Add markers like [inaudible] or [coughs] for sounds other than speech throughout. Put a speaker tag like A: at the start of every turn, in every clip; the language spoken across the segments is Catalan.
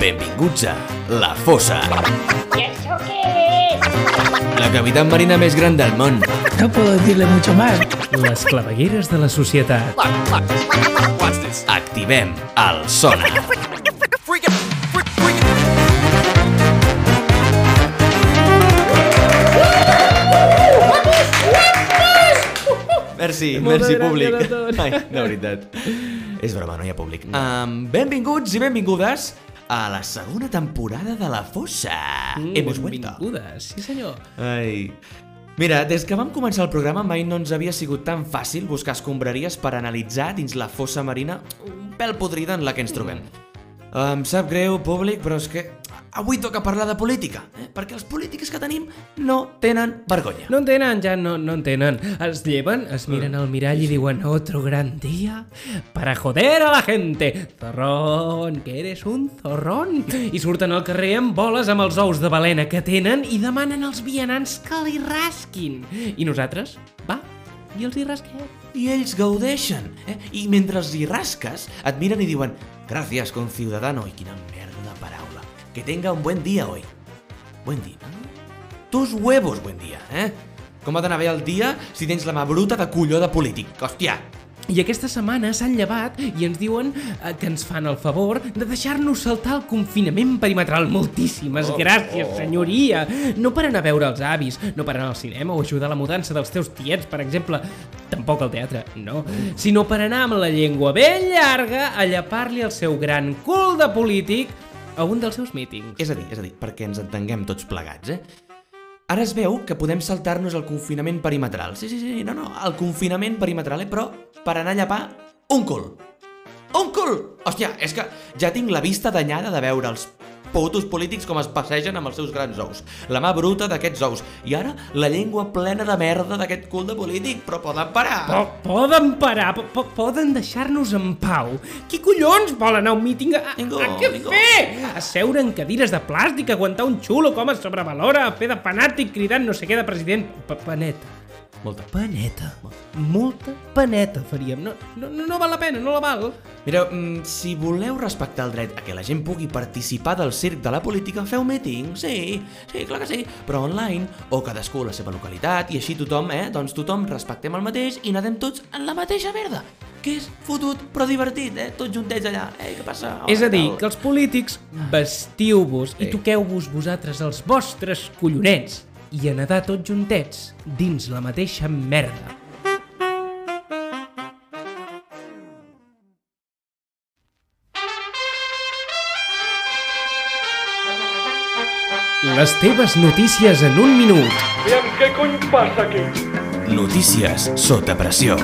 A: Benvinguts a La Fossa,
B: ¿Y eso qué es?
A: la cavitat marina més gran del món.
C: No puedo decirle mucho más.
D: Les clavegueres de la societat.
A: Activem el sonar. Merci,
D: Moltes
A: merci
D: gràcies
A: públic.
D: a tots.
A: Ai, de veritat. És broma, no hi ha públic. Um, benvinguts i benvingudes a la segona temporada de La Fossa. Mm, Hemos vuelto.
D: Benvingudes, sí senyor.
A: Ai... Mira, des que vam començar el programa mai no ens havia sigut tan fàcil buscar escombraries per analitzar dins la fossa marina un pèl podrida en la que ens trobem. Em sap greu, públic, però és que avui toca parlar de política, eh? perquè els polítics que tenim no tenen vergonya.
D: No en tenen, ja no, no en tenen. Es lleven, es miren al mirall i diuen otro gran dia para joder a la gente. Zorrón, que eres un zorrón. I surten al carrer amb boles amb els ous de balena que tenen i demanen als vianants que li rasquin. I nosaltres, va, i els hi rasquem.
A: I ells gaudeixen, eh? i mentre els hi rasques et miren i diuen «Gràcies, conciudadano», i quina merda de paraula. Que tenga un buen dia hoy. Buen dia. Tus huevos, buen dia, eh? Com ha d'anar bé el dia si tens la mà bruta de colló de polític? Hòstia!
D: I aquesta setmana s'han llevat i ens diuen eh, que ens fan el favor de deixar-nos saltar el confinament perimetral. Moltíssimes oh, gràcies, oh. senyoria! No per anar a veure els avis, no per anar al cinema o ajudar a la mudança dels teus tiets, per exemple, tampoc al teatre, no, sinó per anar amb la llengua ben llarga a llapar-li el seu gran cul de polític a un dels seus mítings.
A: És a dir, és a dir, perquè ens entenguem tots plegats, eh? Ara es veu que podem saltar-nos el confinament perimetral. Sí, sí, sí, no, no, el confinament perimetral, eh? Però per anar a llapar un cul. Un cul! Hòstia, és que ja tinc la vista danyada de veure els putos polítics com es passegen amb els seus grans ous. La mà bruta d'aquests ous. I ara la llengua plena de merda d'aquest cul de polític. Però poden parar!
D: Po poden parar, po po poden deixar-nos en pau. Qui collons vol anar a un míting a, a,
A: Ningú,
D: a què
A: ningú.
D: fer? A seure en cadires de plàstic, aguantar un xulo com es sobrevalora, a fer de fanàtic cridant no sé què de president. P Paneta.
A: Molta.
D: Paneta. Molta paneta faríem. No, no, no no val la pena, no la val.
A: Mireu, mm, si voleu respectar el dret a que la gent pugui participar del circ de la política, feu meeting, sí, sí, clar que sí, però online, o cadascú a la seva localitat, i així tothom, eh, doncs tothom respectem el mateix i nadem tots en la mateixa merda, que és fotut però divertit, eh, tots juntets allà, ei, què passa?
D: És a dir,
A: tal.
D: que els polítics vestiu-vos i toqueu-vos vosaltres els vostres collonets i a nedar tots juntets dins la mateixa merda. Les teves notícies en un minut.
E: Aviam, què cony passa aquí?
A: Notícies sota pressió.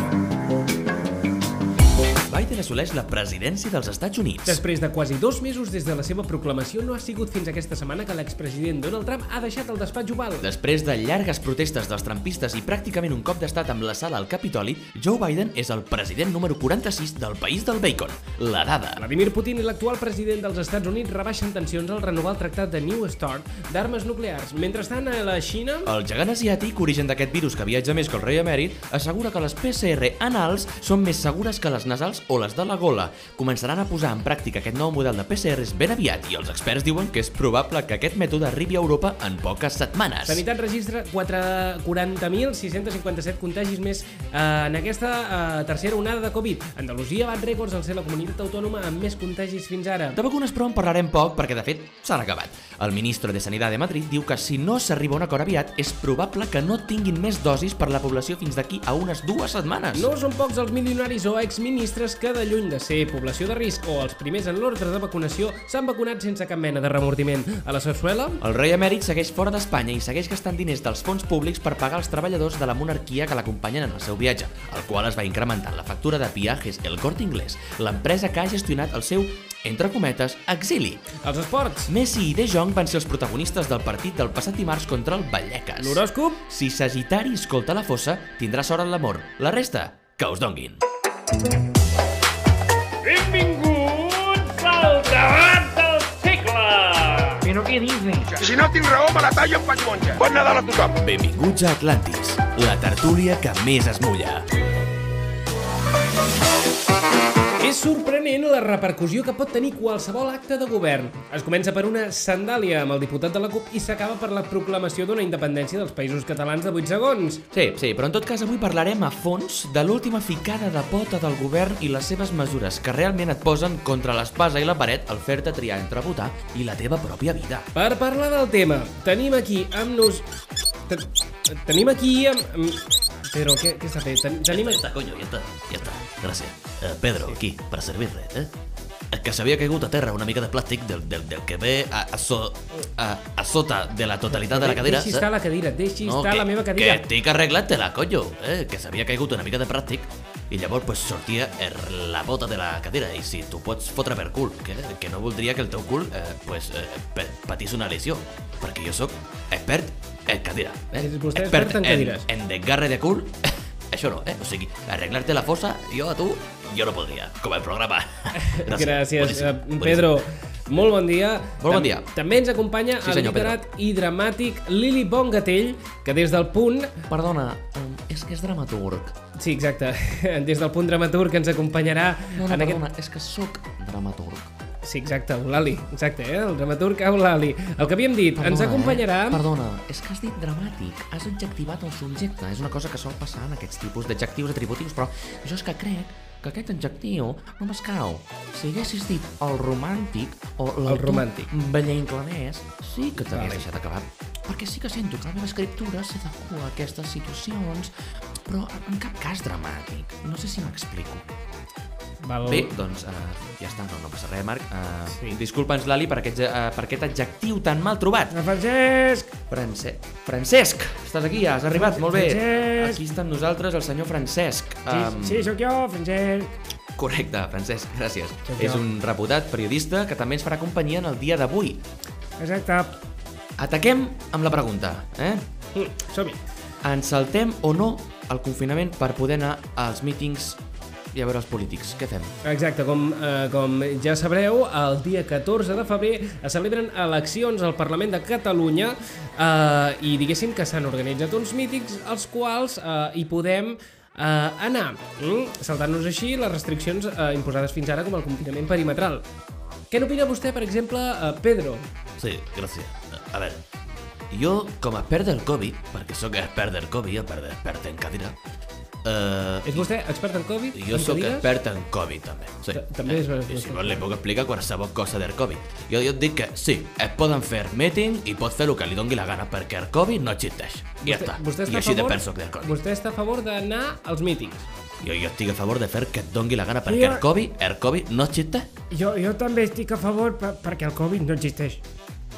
A: Biden assoleix la presidència dels Estats Units.
D: Després de quasi dos mesos des de la seva proclamació, no ha sigut fins aquesta setmana que l'expresident Donald Trump ha deixat el despatx oval.
A: Després de llargues protestes dels trampistes i pràcticament un cop d'estat amb la sala al Capitoli, Joe Biden és el president número 46 del país del bacon, la dada.
D: Vladimir Putin i l'actual president dels Estats Units rebaixen tensions al renovar el tractat de New START d'armes nuclears. Mentrestant, a la Xina...
A: El gegant asiàtic, origen d'aquest virus que viatja més que el rei emèrit, assegura que les PCR anals són més segures que les nasals o les de la gola. Començaran a posar en pràctica aquest nou model de PCRs ben aviat i els experts diuen que és probable que aquest mètode arribi a Europa en poques setmanes.
D: Sanitat registra 4 40.657 contagis més eh, en aquesta eh, tercera onada de Covid. Andalusia bat rècords al ser la comunitat autònoma amb més contagis fins ara.
A: De vacunes, però, en parlarem poc perquè, de fet, s'han acabat. El ministre de Sanitat de Madrid diu que si no s'arriba a un acord aviat, és probable que no tinguin més dosis per la població fins d'aquí a unes dues setmanes.
D: No són pocs els milionaris o exministres que, de lluny de ser població de risc o els primers en l'ordre de vacunació, s'han vacunat sense cap mena de remordiment. A la Sarsuela,
A: El rei emèrit segueix fora d'Espanya i segueix gastant diners dels fons públics per pagar els treballadors de la monarquia que l'acompanyen en el seu viatge, el qual es va incrementant la factura de viatges el Corte Inglés, l'empresa que ha gestionat el seu, entre cometes, exili.
D: els esports,
A: Messi i De Jong van ser els protagonistes del partit del passat dimarts contra el Vallecas.
D: l'horòscop
A: Si Sagitari escolta la fossa, tindrà sort en l'amor. La resta, que us donguin.
E: Benvinguts al debat del segle!
F: Si no tinc raó, me la tallo amb patxmonja. Bon Nadal a tothom.
A: Benvinguts a Atlantis, la tertúlia que més es mulla.
D: És És sorprenent la repercussió que pot tenir qualsevol acte de govern. Es comença per una sandàlia amb el diputat de la CUP i s'acaba per la proclamació d'una independència dels països catalans de 8 segons.
G: Sí, sí, però en tot cas avui parlarem a fons de l'última ficada de pota del govern i les seves mesures que realment et posen contra l'espasa i la paret al fer-te triar entre votar i la teva pròpia vida.
D: Per parlar del tema, tenim aquí amb nos... Te- Tenim aquí amb... amb- Però què, què s'ha fet? Ten tenim...
A: Ya está, coño, ya está, ya está. Gràcies. Eh, Pedro, aquí, para servirle, eh? És que s'havia caigut a terra una mica de plàstic del, del, del que ve a, a, so, a, a sota de la totalitat de la cadira. eh?
D: Deixi
A: saps?
D: estar la cadira, deixi no, estar la meva cadira.
A: Que estic arreglant-te-la, coño. Eh? Que s'havia caigut una mica de plàstic i llavors pues, sortia er, la bota de la cadira i si tu pots fotre per cul que, que no voldria que el teu cul eh, pues, eh, pa- patís una lesió perquè jo sóc expert en cadira eh?
D: És vostè expert en cadires.
A: en, en desgarre de cul [laughs] això no, eh? o sigui, arreglar-te la fossa jo a tu, jo no podria com el
D: [laughs]
A: programa
D: Gràcies,
A: Boníssim,
D: eh,
A: boníssim.
D: Pedro. Molt bon dia.
G: Molt bon
D: Tam-
G: dia.
D: També ens acompanya
A: Sí,
D: el
A: senyor,
D: literat i dramàtic Lili Bongatell, que des del punt...
A: Perdona, em, és que és dramaturg
D: Sí, exacte. [laughs] Des del punt dramaturg ens acompanyarà
A: No, no,
D: en aquest...
A: perdona, és que sóc dramaturg.
D: Sí, exacte, Eulali. Exacte, eh? El dramaturg Eulali. El que havíem dit, ens
A: Perdona,
D: acompanyarà...
A: Eh? Perdona, és que has dit dramàtic. Has adjectivat el subjecte. És una cosa que sol passar en aquests tipus d'adjectius atributius, però jo és que crec que aquest adjectiu no m'escau. Si haguessis dit el romàntic o l'autor
D: romàntic.
A: Bellanclanès, sí que t'hagués
D: Vale.
A: deixat acabar. Perquè sí que sento que la meva escriptura s'adequa a aquestes situacions, però en cap cas dramàtic. No sé si m'explico.
D: Val.
G: Bé, doncs uh, ja està, no, no passa res, Marc. Uh,
D: Sí.
G: sí. Disculpa'ns, Lali, per aquest, uh, per aquest adjectiu tan mal trobat.
D: Francesc!
G: Francesc. Francesc! Estàs aquí, has arribat, molt bé.
D: Francesc!
G: Aquí està amb nosaltres el senyor Francesc. Em,
D: sóc jo, Francesc.
G: Correcte, Francesc, gràcies.
D: Sóc
G: És
D: jo.
G: un reputat periodista que també ens farà companyia en el dia d'avui.
D: Exacte.
G: Ataquem amb la pregunta, eh?
D: Som-hi.
G: Ens saltem o no el confinament per poder anar als mítings i a veure els polítics? Què fem?
D: Exacte, com, eh, com ja sabreu, el dia 14 de febrer es celebren eleccions al Parlament de Catalunya eh, i diguéssim que s'han organitzat uns mítics als quals eh, hi podem eh, anar, mm? saltant-nos així les restriccions eh, imposades fins ara com el confinament perimetral. Què n'opina vostè, per exemple, eh, Pedro?
A: Sí, gràcies. A veure, jo, com a expert del Covid, perquè sóc expert del Covid, expert, expert en cadira, eh,
D: És vostè expert en Covid?
A: jo
D: En
A: sóc
D: cadires?
A: expert en Covid, també. Sí. Eh,
D: Ta- també és-
A: I si vols li puc explicar qualsevol cosa del Covid. Jo, jo et dic que sí, es poden fer meeting i pots fer el que li doni la gana, perquè el Covid no existeix. I ja està.
D: Vostè està
A: I així
D: a favor,
A: de penso que del Covid.
D: Vostè està a favor d'anar als mítings?
A: Jo, jo estic a favor de fer que et doni la gana, perquè
H: Jo-
A: el Covid, el Covid no existeix.
H: Jo, jo també estic a favor per, perquè el Covid no existeix.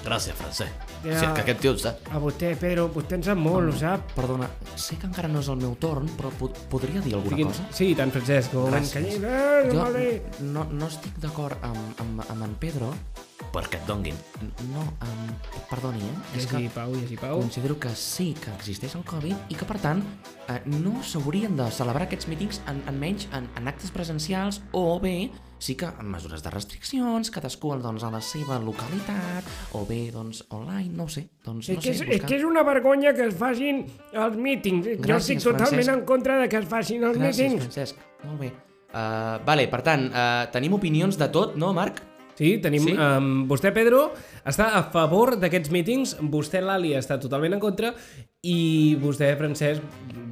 A: Gràcies, Francesc.
H: Ja.
A: Si és que aquest tio ho sap.
H: A vostè, Pedro, vostè en sap molt, ho sap.
G: Perdona, sé que encara no és el meu torn, però pod podria dir alguna
D: Digui'ns-
G: cosa?
D: Sí, i tant, Francesc. un moment,
G: Gràcies.
H: Eh, no
G: Jo
H: m'ha dit.
G: no, no estic d'acord amb, amb, amb en Pedro.
A: Perquè et donguin.
G: No, amb... perdoni, eh?
D: que-
G: És que
D: Llegir, Pau, llegir, Pau.
G: considero que sí que existeix el Covid i que, per tant, eh, no s'haurien de celebrar aquests mítings en, en menys en, en actes presencials o bé sí que amb mesures de restriccions, cadascú doncs, a la seva localitat, o bé doncs, online, no ho sé. Doncs,
H: És
G: no
H: que és,
G: sé,
H: és que és una vergonya que es facin els mítings. jo
G: Gràcies,
H: estic totalment
G: Francesc.
H: en contra de que es facin els
G: Gràcies,
H: mítings.
G: Francesc. Molt bé. Uh, vale, per tant, uh, tenim opinions de tot, no, Marc?
D: Sí, tenim... Sí?
G: Sí?
D: Um, vostè, Pedro, està a favor d'aquests mítings, vostè, Lali, està totalment en contra i vostè, Francesc,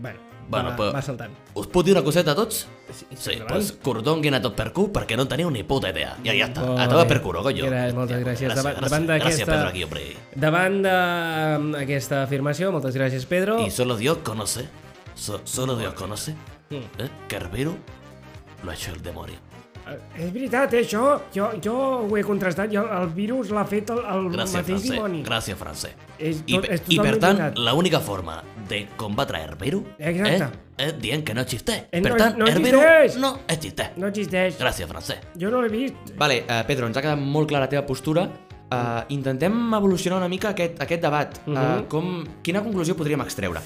D: bueno,
A: Bueno,
D: va,
A: però-
D: va saltant.
A: Us puc dir una coseta a tots? Sí, sí
D: endavant.
A: doncs cordonguin a tot per cul perquè no en teniu ni puta idea. Ja, ja està, a tot per cul, coño.
D: Gra moltes gràcies. Davant-
A: Gràcies,
D: davant d'aquesta-
A: Pedro, aquí, hombre.
D: Davant d'aquesta afirmació, moltes gràcies, Pedro.
A: Y solo Dios conoce, so- solo Dios conoce, eh, que el virus lo ha hecho el demonio.
H: És veritat, eh, això. Jo, jo ho he contrastat. Jo, el virus l'ha fet el, el
A: Gràcies,
H: mateix
A: francés.
H: dimoni.
A: Gràcies, francés.
H: És
A: I,
H: tot-
A: per-
H: és
A: I per
H: totalment
A: tant,
H: veritat.
A: l'única forma de combatre el virus és,
H: Exacte.
A: és dient ¿eh? que no existeix.
H: Eh,
A: per
H: no-
A: tant,
H: no
A: el virus
H: existeix.
A: no existeix.
H: No existeix.
A: Gràcies, francés.
H: Jo no l'he vist.
G: Vale, uh, Pedro, ens ha quedat molt clara la teva postura. Uh, intentem evolucionar una mica aquest, aquest debat. Uh
D: Mhm.
G: com, quina conclusió podríem extreure?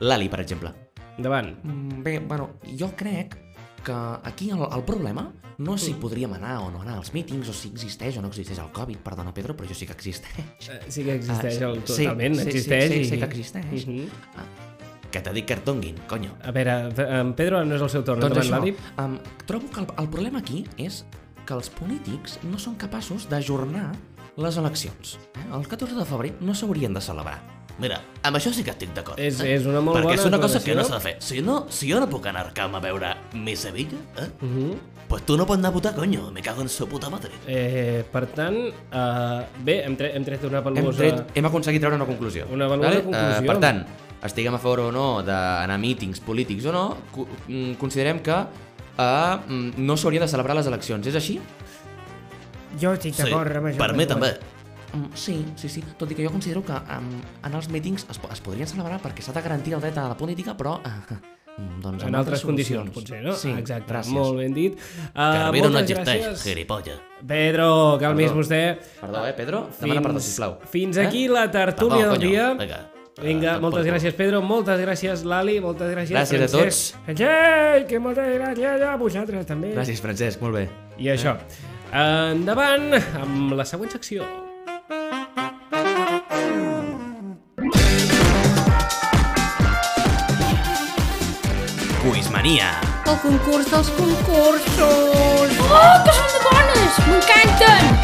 G: L'Ali, per exemple.
D: Endavant.
G: Mm, Bé, bueno, jo crec que aquí el, el problema no és si podríem anar o no anar als mítings o si existeix o no existeix el Covid. Perdona, Pedro, però jo sí que existeix.
D: Eh, Sí que existeix,
G: Ah,
D: el,
G: sí,
D: totalment,
G: sí, sí,
D: existeix.
G: sí, sí
D: i-
G: que existeix.
D: Mhm.
G: Ah,
A: que t'ha dit que et donguin, conyo.
D: A veure, en Pedro no és el seu torn.
A: Doncs
D: endavant,
A: això,
D: Lali.
A: um, trobo que el, el problema aquí és que els polítics no són capaços d'ajornar les eleccions. Eh? El 14 de febrer no s'haurien de celebrar.
I: Mira, amb això sí que estic d'acord. eh?
D: És- és una molt
I: Perquè
D: bona
I: és una cosa que
D: aclaració.
I: no s'ha de fer. Si, no, si jo no puc anar al camp a veure mi Sevilla, eh? Uh -huh.
D: Mhm.
I: pues tu no pots anar a votar, coño. Me cago en su puta madre.
D: Eh, per tant, eh, bé, hem, tre hem tret una
A: Hem,
D: valuosa...
A: tret, hem aconseguit treure una conclusió. Eh,
D: Una valuosa conclusió.
A: per tant, estiguem a favor o no d'anar a mítings polítics o no, co- mm, considerem que eh, mm, no s'hauria de celebrar les eleccions. És així?
J: Jo estic d'acord amb això.
I: per mi també.
A: Mm, sí, sí, sí. Tot i que jo considero que um, en els mítings es, po- es podrien celebrar perquè s'ha de garantir el dret a la política, però... Uh, [laughs] doncs
D: En altres condicions,
A: solucions.
D: potser, no?
A: Sí,
D: Exacte,
A: gràcies.
D: molt ben dit. Uh,
I: Carvero no existeix, gilipolla.
D: Pedro, calmis
A: Perdó.
D: vostè.
A: Perdó, eh, Pedro? Demana perdó, sisplau.
D: Fins
A: Eh?
D: aquí la tertúlia
I: Perdó,
D: del
I: coño,
D: dia.
I: vinga.
D: Vinga,
I: Eh,
D: moltes
I: tampoc.
D: gràcies, Pedro. Moltes gràcies, Lali. Moltes gràcies,
A: Ah, Gràcies a tots.
D: Francesc.
J: Francesc, que moltes gràcies a vosaltres també.
A: Gràcies, Francesc, molt bé.
D: I això. Endavant amb la següent secció.
I: Quizmania.
K: El concurs dels concursos!
B: Oh, que són de bones! M'encanten!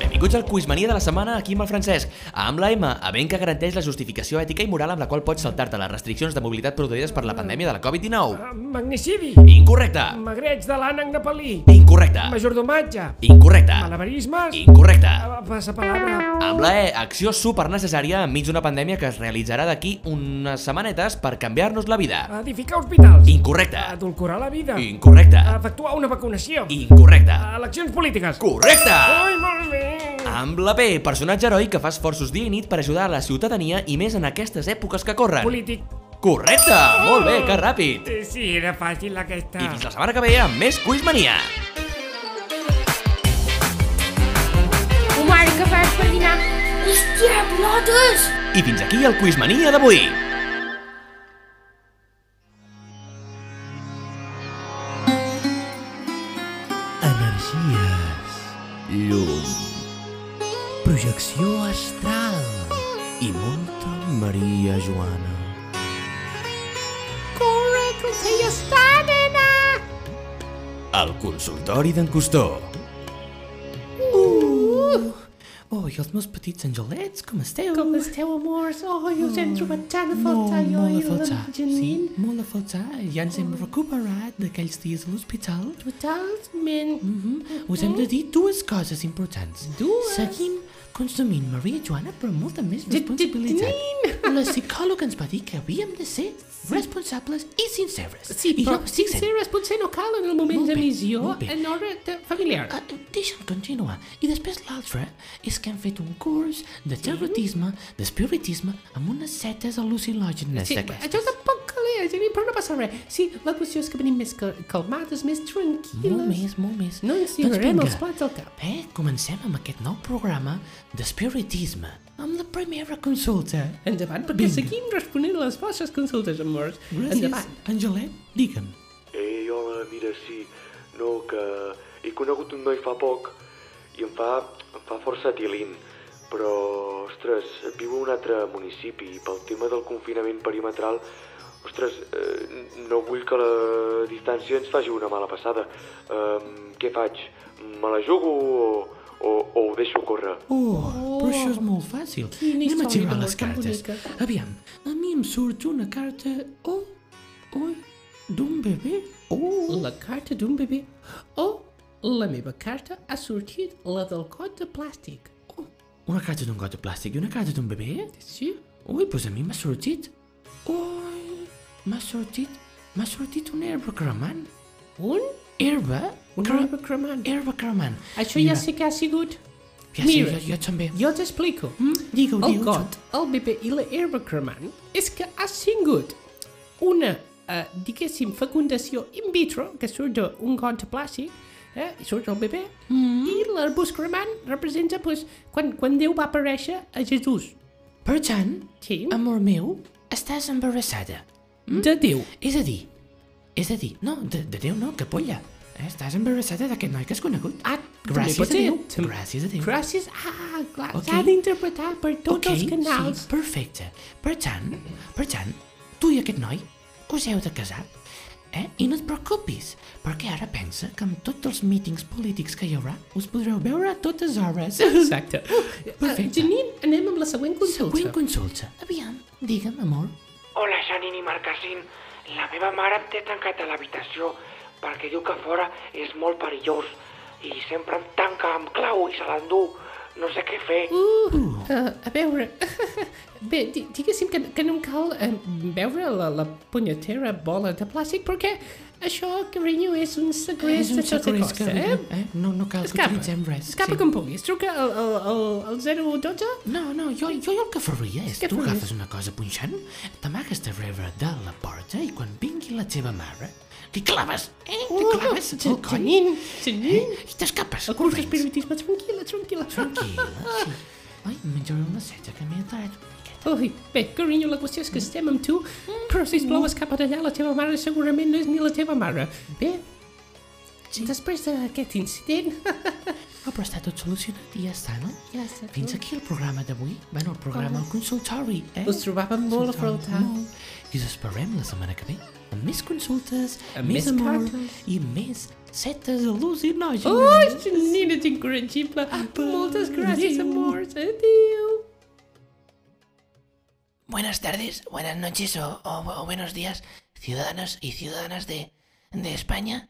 A: Benvinguts al Quizmania de la setmana aquí amb el Francesc, amb la M, event que garanteix la justificació ètica i moral amb la qual pots saltar-te les restriccions de mobilitat produïdes per la pandèmia de la Covid-19.
J: Ah, Magnicidi,
A: Incorrecte!
J: magreig de l'ànec de pelí,
A: Incorrecte!
J: majordomatge,
A: Incorrecte!
J: malabarismes,
A: Incorrecte!
J: ah, passapalabra,
A: Amb la E, acció super necessària enmig d'una pandèmia que es realitzarà d'aquí unes setmanetes per canviar-nos la vida.
J: edificar hospitals,
A: Incorrecte!
J: adulcorar la vida,
A: Incorrecte!
J: efectuar una vacunació,
A: Incorrecte!
J: eleccions polítiques.
A: Correcte!
J: Ai, molt bé.
A: Amb la P, personatge heroi que fa esforços dia i nit per ajudar a la ciutadania i més en aquestes èpoques que corren.
J: Polític.
A: Correcte! Molt bé, que ràpid!
J: Eh, Sí, era fàcil aquesta.
D: Ah.
A: I fins la setmana que ve amb més Quizmania!
B: Oh, mare, que fas per dinar? Hòstia, pilotes!
A: I fins aquí el Quizmania d'avui!
G: energies, llum, projecció astral i molta Maria Joana.
A: El consultori d'en Costó. Uh! Oh, i els meus petits angelets, com esteu? Com
K: Esteu amors, oh, jo us hem trobat tant a faltar,
G: Molt,
K: jo
G: molt
K: i
G: de faltar,
K: la
G: sí,
K: Janine. Oh.
G: molt de faltar. Ja ens hem recuperat d'aquells dies a l'hospital.
K: Totalment.
G: Us hem de dir dues coses importants.
K: Dues?
G: Seguim consumint Maria Joana, però amb molta més responsabilitat.
K: Janine!
G: La psicòloga ens va dir que havíem de ser responsables i sinceres.
K: Sí,
G: I
K: però
G: jo ho estic sent.
K: sinceres potser no cal en el moment
G: Molt
K: de
G: bé,
K: missió,
G: molt bé.
K: en hora de familiar.
G: Ah, Deixa'm continuar. I després l'altre és que hem fet un curs de terrorisme, d'espiritisme, amb unes setes al·lucinògenes
K: Sí,
G: d'aquestes.
K: això tampoc calia, Janine, però no passa res. Sí, la qüestió és que venim més cal- calmades, més tranquil·les.
G: Molt més, Doncs molt més.
K: No ens tirarem els plats al cap.
G: Eh, comencem amb aquest nou programa d'espiritisme, amb la primera consulta.
K: Endavant, perquè
G: Vinga.
K: seguim responent a les vostres consultes, amors.
G: Gràcies,
K: Endavant.
G: Angelet, digue'm.
L: Ei, hola, Eh, mira, sí. No, que he conegut un noi fa poc i em fa, em fa força tilint. Però, ostres, viu a un altre municipi i pel tema del confinament perimetral, ostres, eh, no vull que la distància ens faci una mala passada. Eh, què faig? Me la jugo o, o, o ho deixo córrer?
G: Oh, però això és molt fàcil.
K: Quina
G: Anem a
K: història
G: tirar
K: d'amor
G: les
K: tan
G: cartes.
K: bonica.
G: Aviam, a mi em surt una carta... Oh, oh, d'un bebè. Oh,
K: La carta d'un bebè. Oh, la meva carta ha sortit la del got de plàstic.
G: Oh, una carta d'un got de plàstic i una carta d'un bebè?
K: Sí?
G: Ui, doncs a mi m'ha sortit... Ui, m'ha sortit... M'ha sortit una herba cremant.
K: Un?
G: Herba?
K: Una
G: cre-
K: herba cremant.
G: Herba cremant.
K: Això ja sé que ha sigut.
G: Ja sé,
K: Mira.
G: jo, jo també.
K: Jo Oh, t'explico.
G: Mm? Digue-ho,
K: El
G: digue-ho.
K: got, el bebè i la herba cremant és que ha sigut una, eh, diguéssim, fecundació in vitro, que surt d'un got de plàstic, eh, i surt el bebè,
G: Mm.
K: i l'arbust cremant representa pues, quan, quan Déu va aparèixer a Jesús.
G: Per tant,
K: Sí,
G: amor meu, estàs embarassada. Mm.
K: de Déu.
G: És a dir, és a dir, no, de, de Déu no, que polla. Eh, Estàs embarassada d'aquest noi que has conegut.
K: Ah,
G: Gràcies
D: També pot
G: a Déu.
D: ser. Tam-
G: Gràcies a Déu.
D: Gràcies. Ah, clar,
G: Ok.
D: s'ha d'interpretar per tots els canals.
G: Sí, perfecte. Per tant, per tant, tu i aquest noi us heu de casar. Eh? I no et preocupis, perquè ara pensa que amb tots els mítings polítics que hi haurà us podreu veure a totes hores.
D: Exacte.
G: Perfecte.
D: Janine, anem amb la següent consulta.
G: Següent consulta. Aviam, digue'm, amor.
M: Hola, Janine i Marcassin. La meva mare em té tancat a l'habitació perquè diu que fora és molt perillós i sempre em tanca amb clau i se l'endú. No sé què fer.
D: Uh, uh, a veure... [laughs] Bé, di- diguéssim que, que no em cal eh, veure la, la punyetera bola de plàstic perquè això, carinyo, és un secret
G: És un
D: de tota
G: secret,
D: costa,
G: carinyo,
D: eh?
G: No, no cal
D: Escapa.
G: que utilitzem res.
D: Escapa com puguis. Truca al, al, al, al 012.
G: No, no, jo, jo, jo el que faria és,
D: Què
G: tu
D: faries?
G: agafes una cosa punxant, t'amagues darrere de la porta i quan vingui la teva mare, li claves, eh, li
D: Oh,
G: claves
D: Ja-
G: el coll.
D: Janin, Janin.
G: I t'escapes,
D: El curs d'espiritisme, tranquil·la, tranquil·la. Tranquil·la,
G: sí. Ai, menjaré una seta que m'he tallat.
D: Ui, bé, carinyo, la qüestió és
G: Mm.
D: que estem amb tu, però sisplau, escapa d'allà, la teva mare segurament no és ni la teva mare. Bé, després d'aquest incident...
G: Oh, però està tot solucionat i ja està, no?
D: Ja està [laughs]
G: Fins
D: tot.
G: aquí el programa d'avui. Bueno, el programa, el consultori, eh?
D: Us trobàvem molt a
G: Consultori,
D: faltar.
G: molt. I us esperem la setmana que ve amb més consultes,
D: Amb
G: més
D: més
G: amor
D: cartes.
G: i més setes al·lucinògenes.
D: Oh, Janina, ets incorregible. Moltes gràcies, amors. Adéu.
N: Buenas tardes, buenas noches o, o- o buenos días, ciudadanos y ciudadanas de, de España.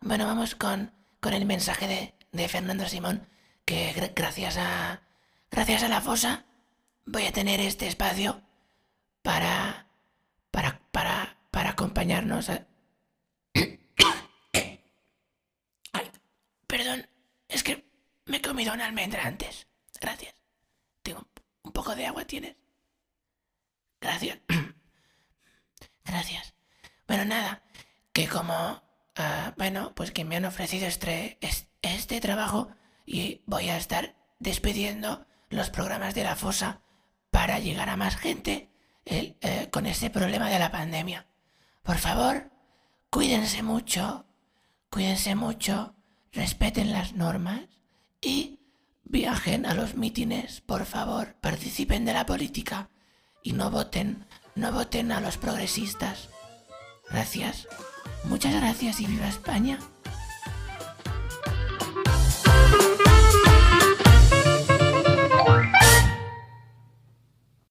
N: Bueno, vamos con, con el mensaje de, de Fernando Simón, que gra- gracias a, gracias a la fosa voy a tener este espacio para, para, para, para acompañarnos a... [coughs] Ay, perdón, es que me he comido una almendra antes. Gracias. Tengo un poco de agua, ¿tienes? Gracias. [coughs] Gracias. Bueno, nada. Que como... ah, bueno, pues que me han ofrecido este, es- este trabajo y voy a estar despidiendo los programas de la fosa para llegar a más gente el- eh, con este problema de la pandemia. Por favor, cuídense mucho, cuídense mucho, respeten las normas y viajen a los mítines, por favor, participen de la política y no voten, no voten a los progresistas. Gracias. Muchas gracias y viva España.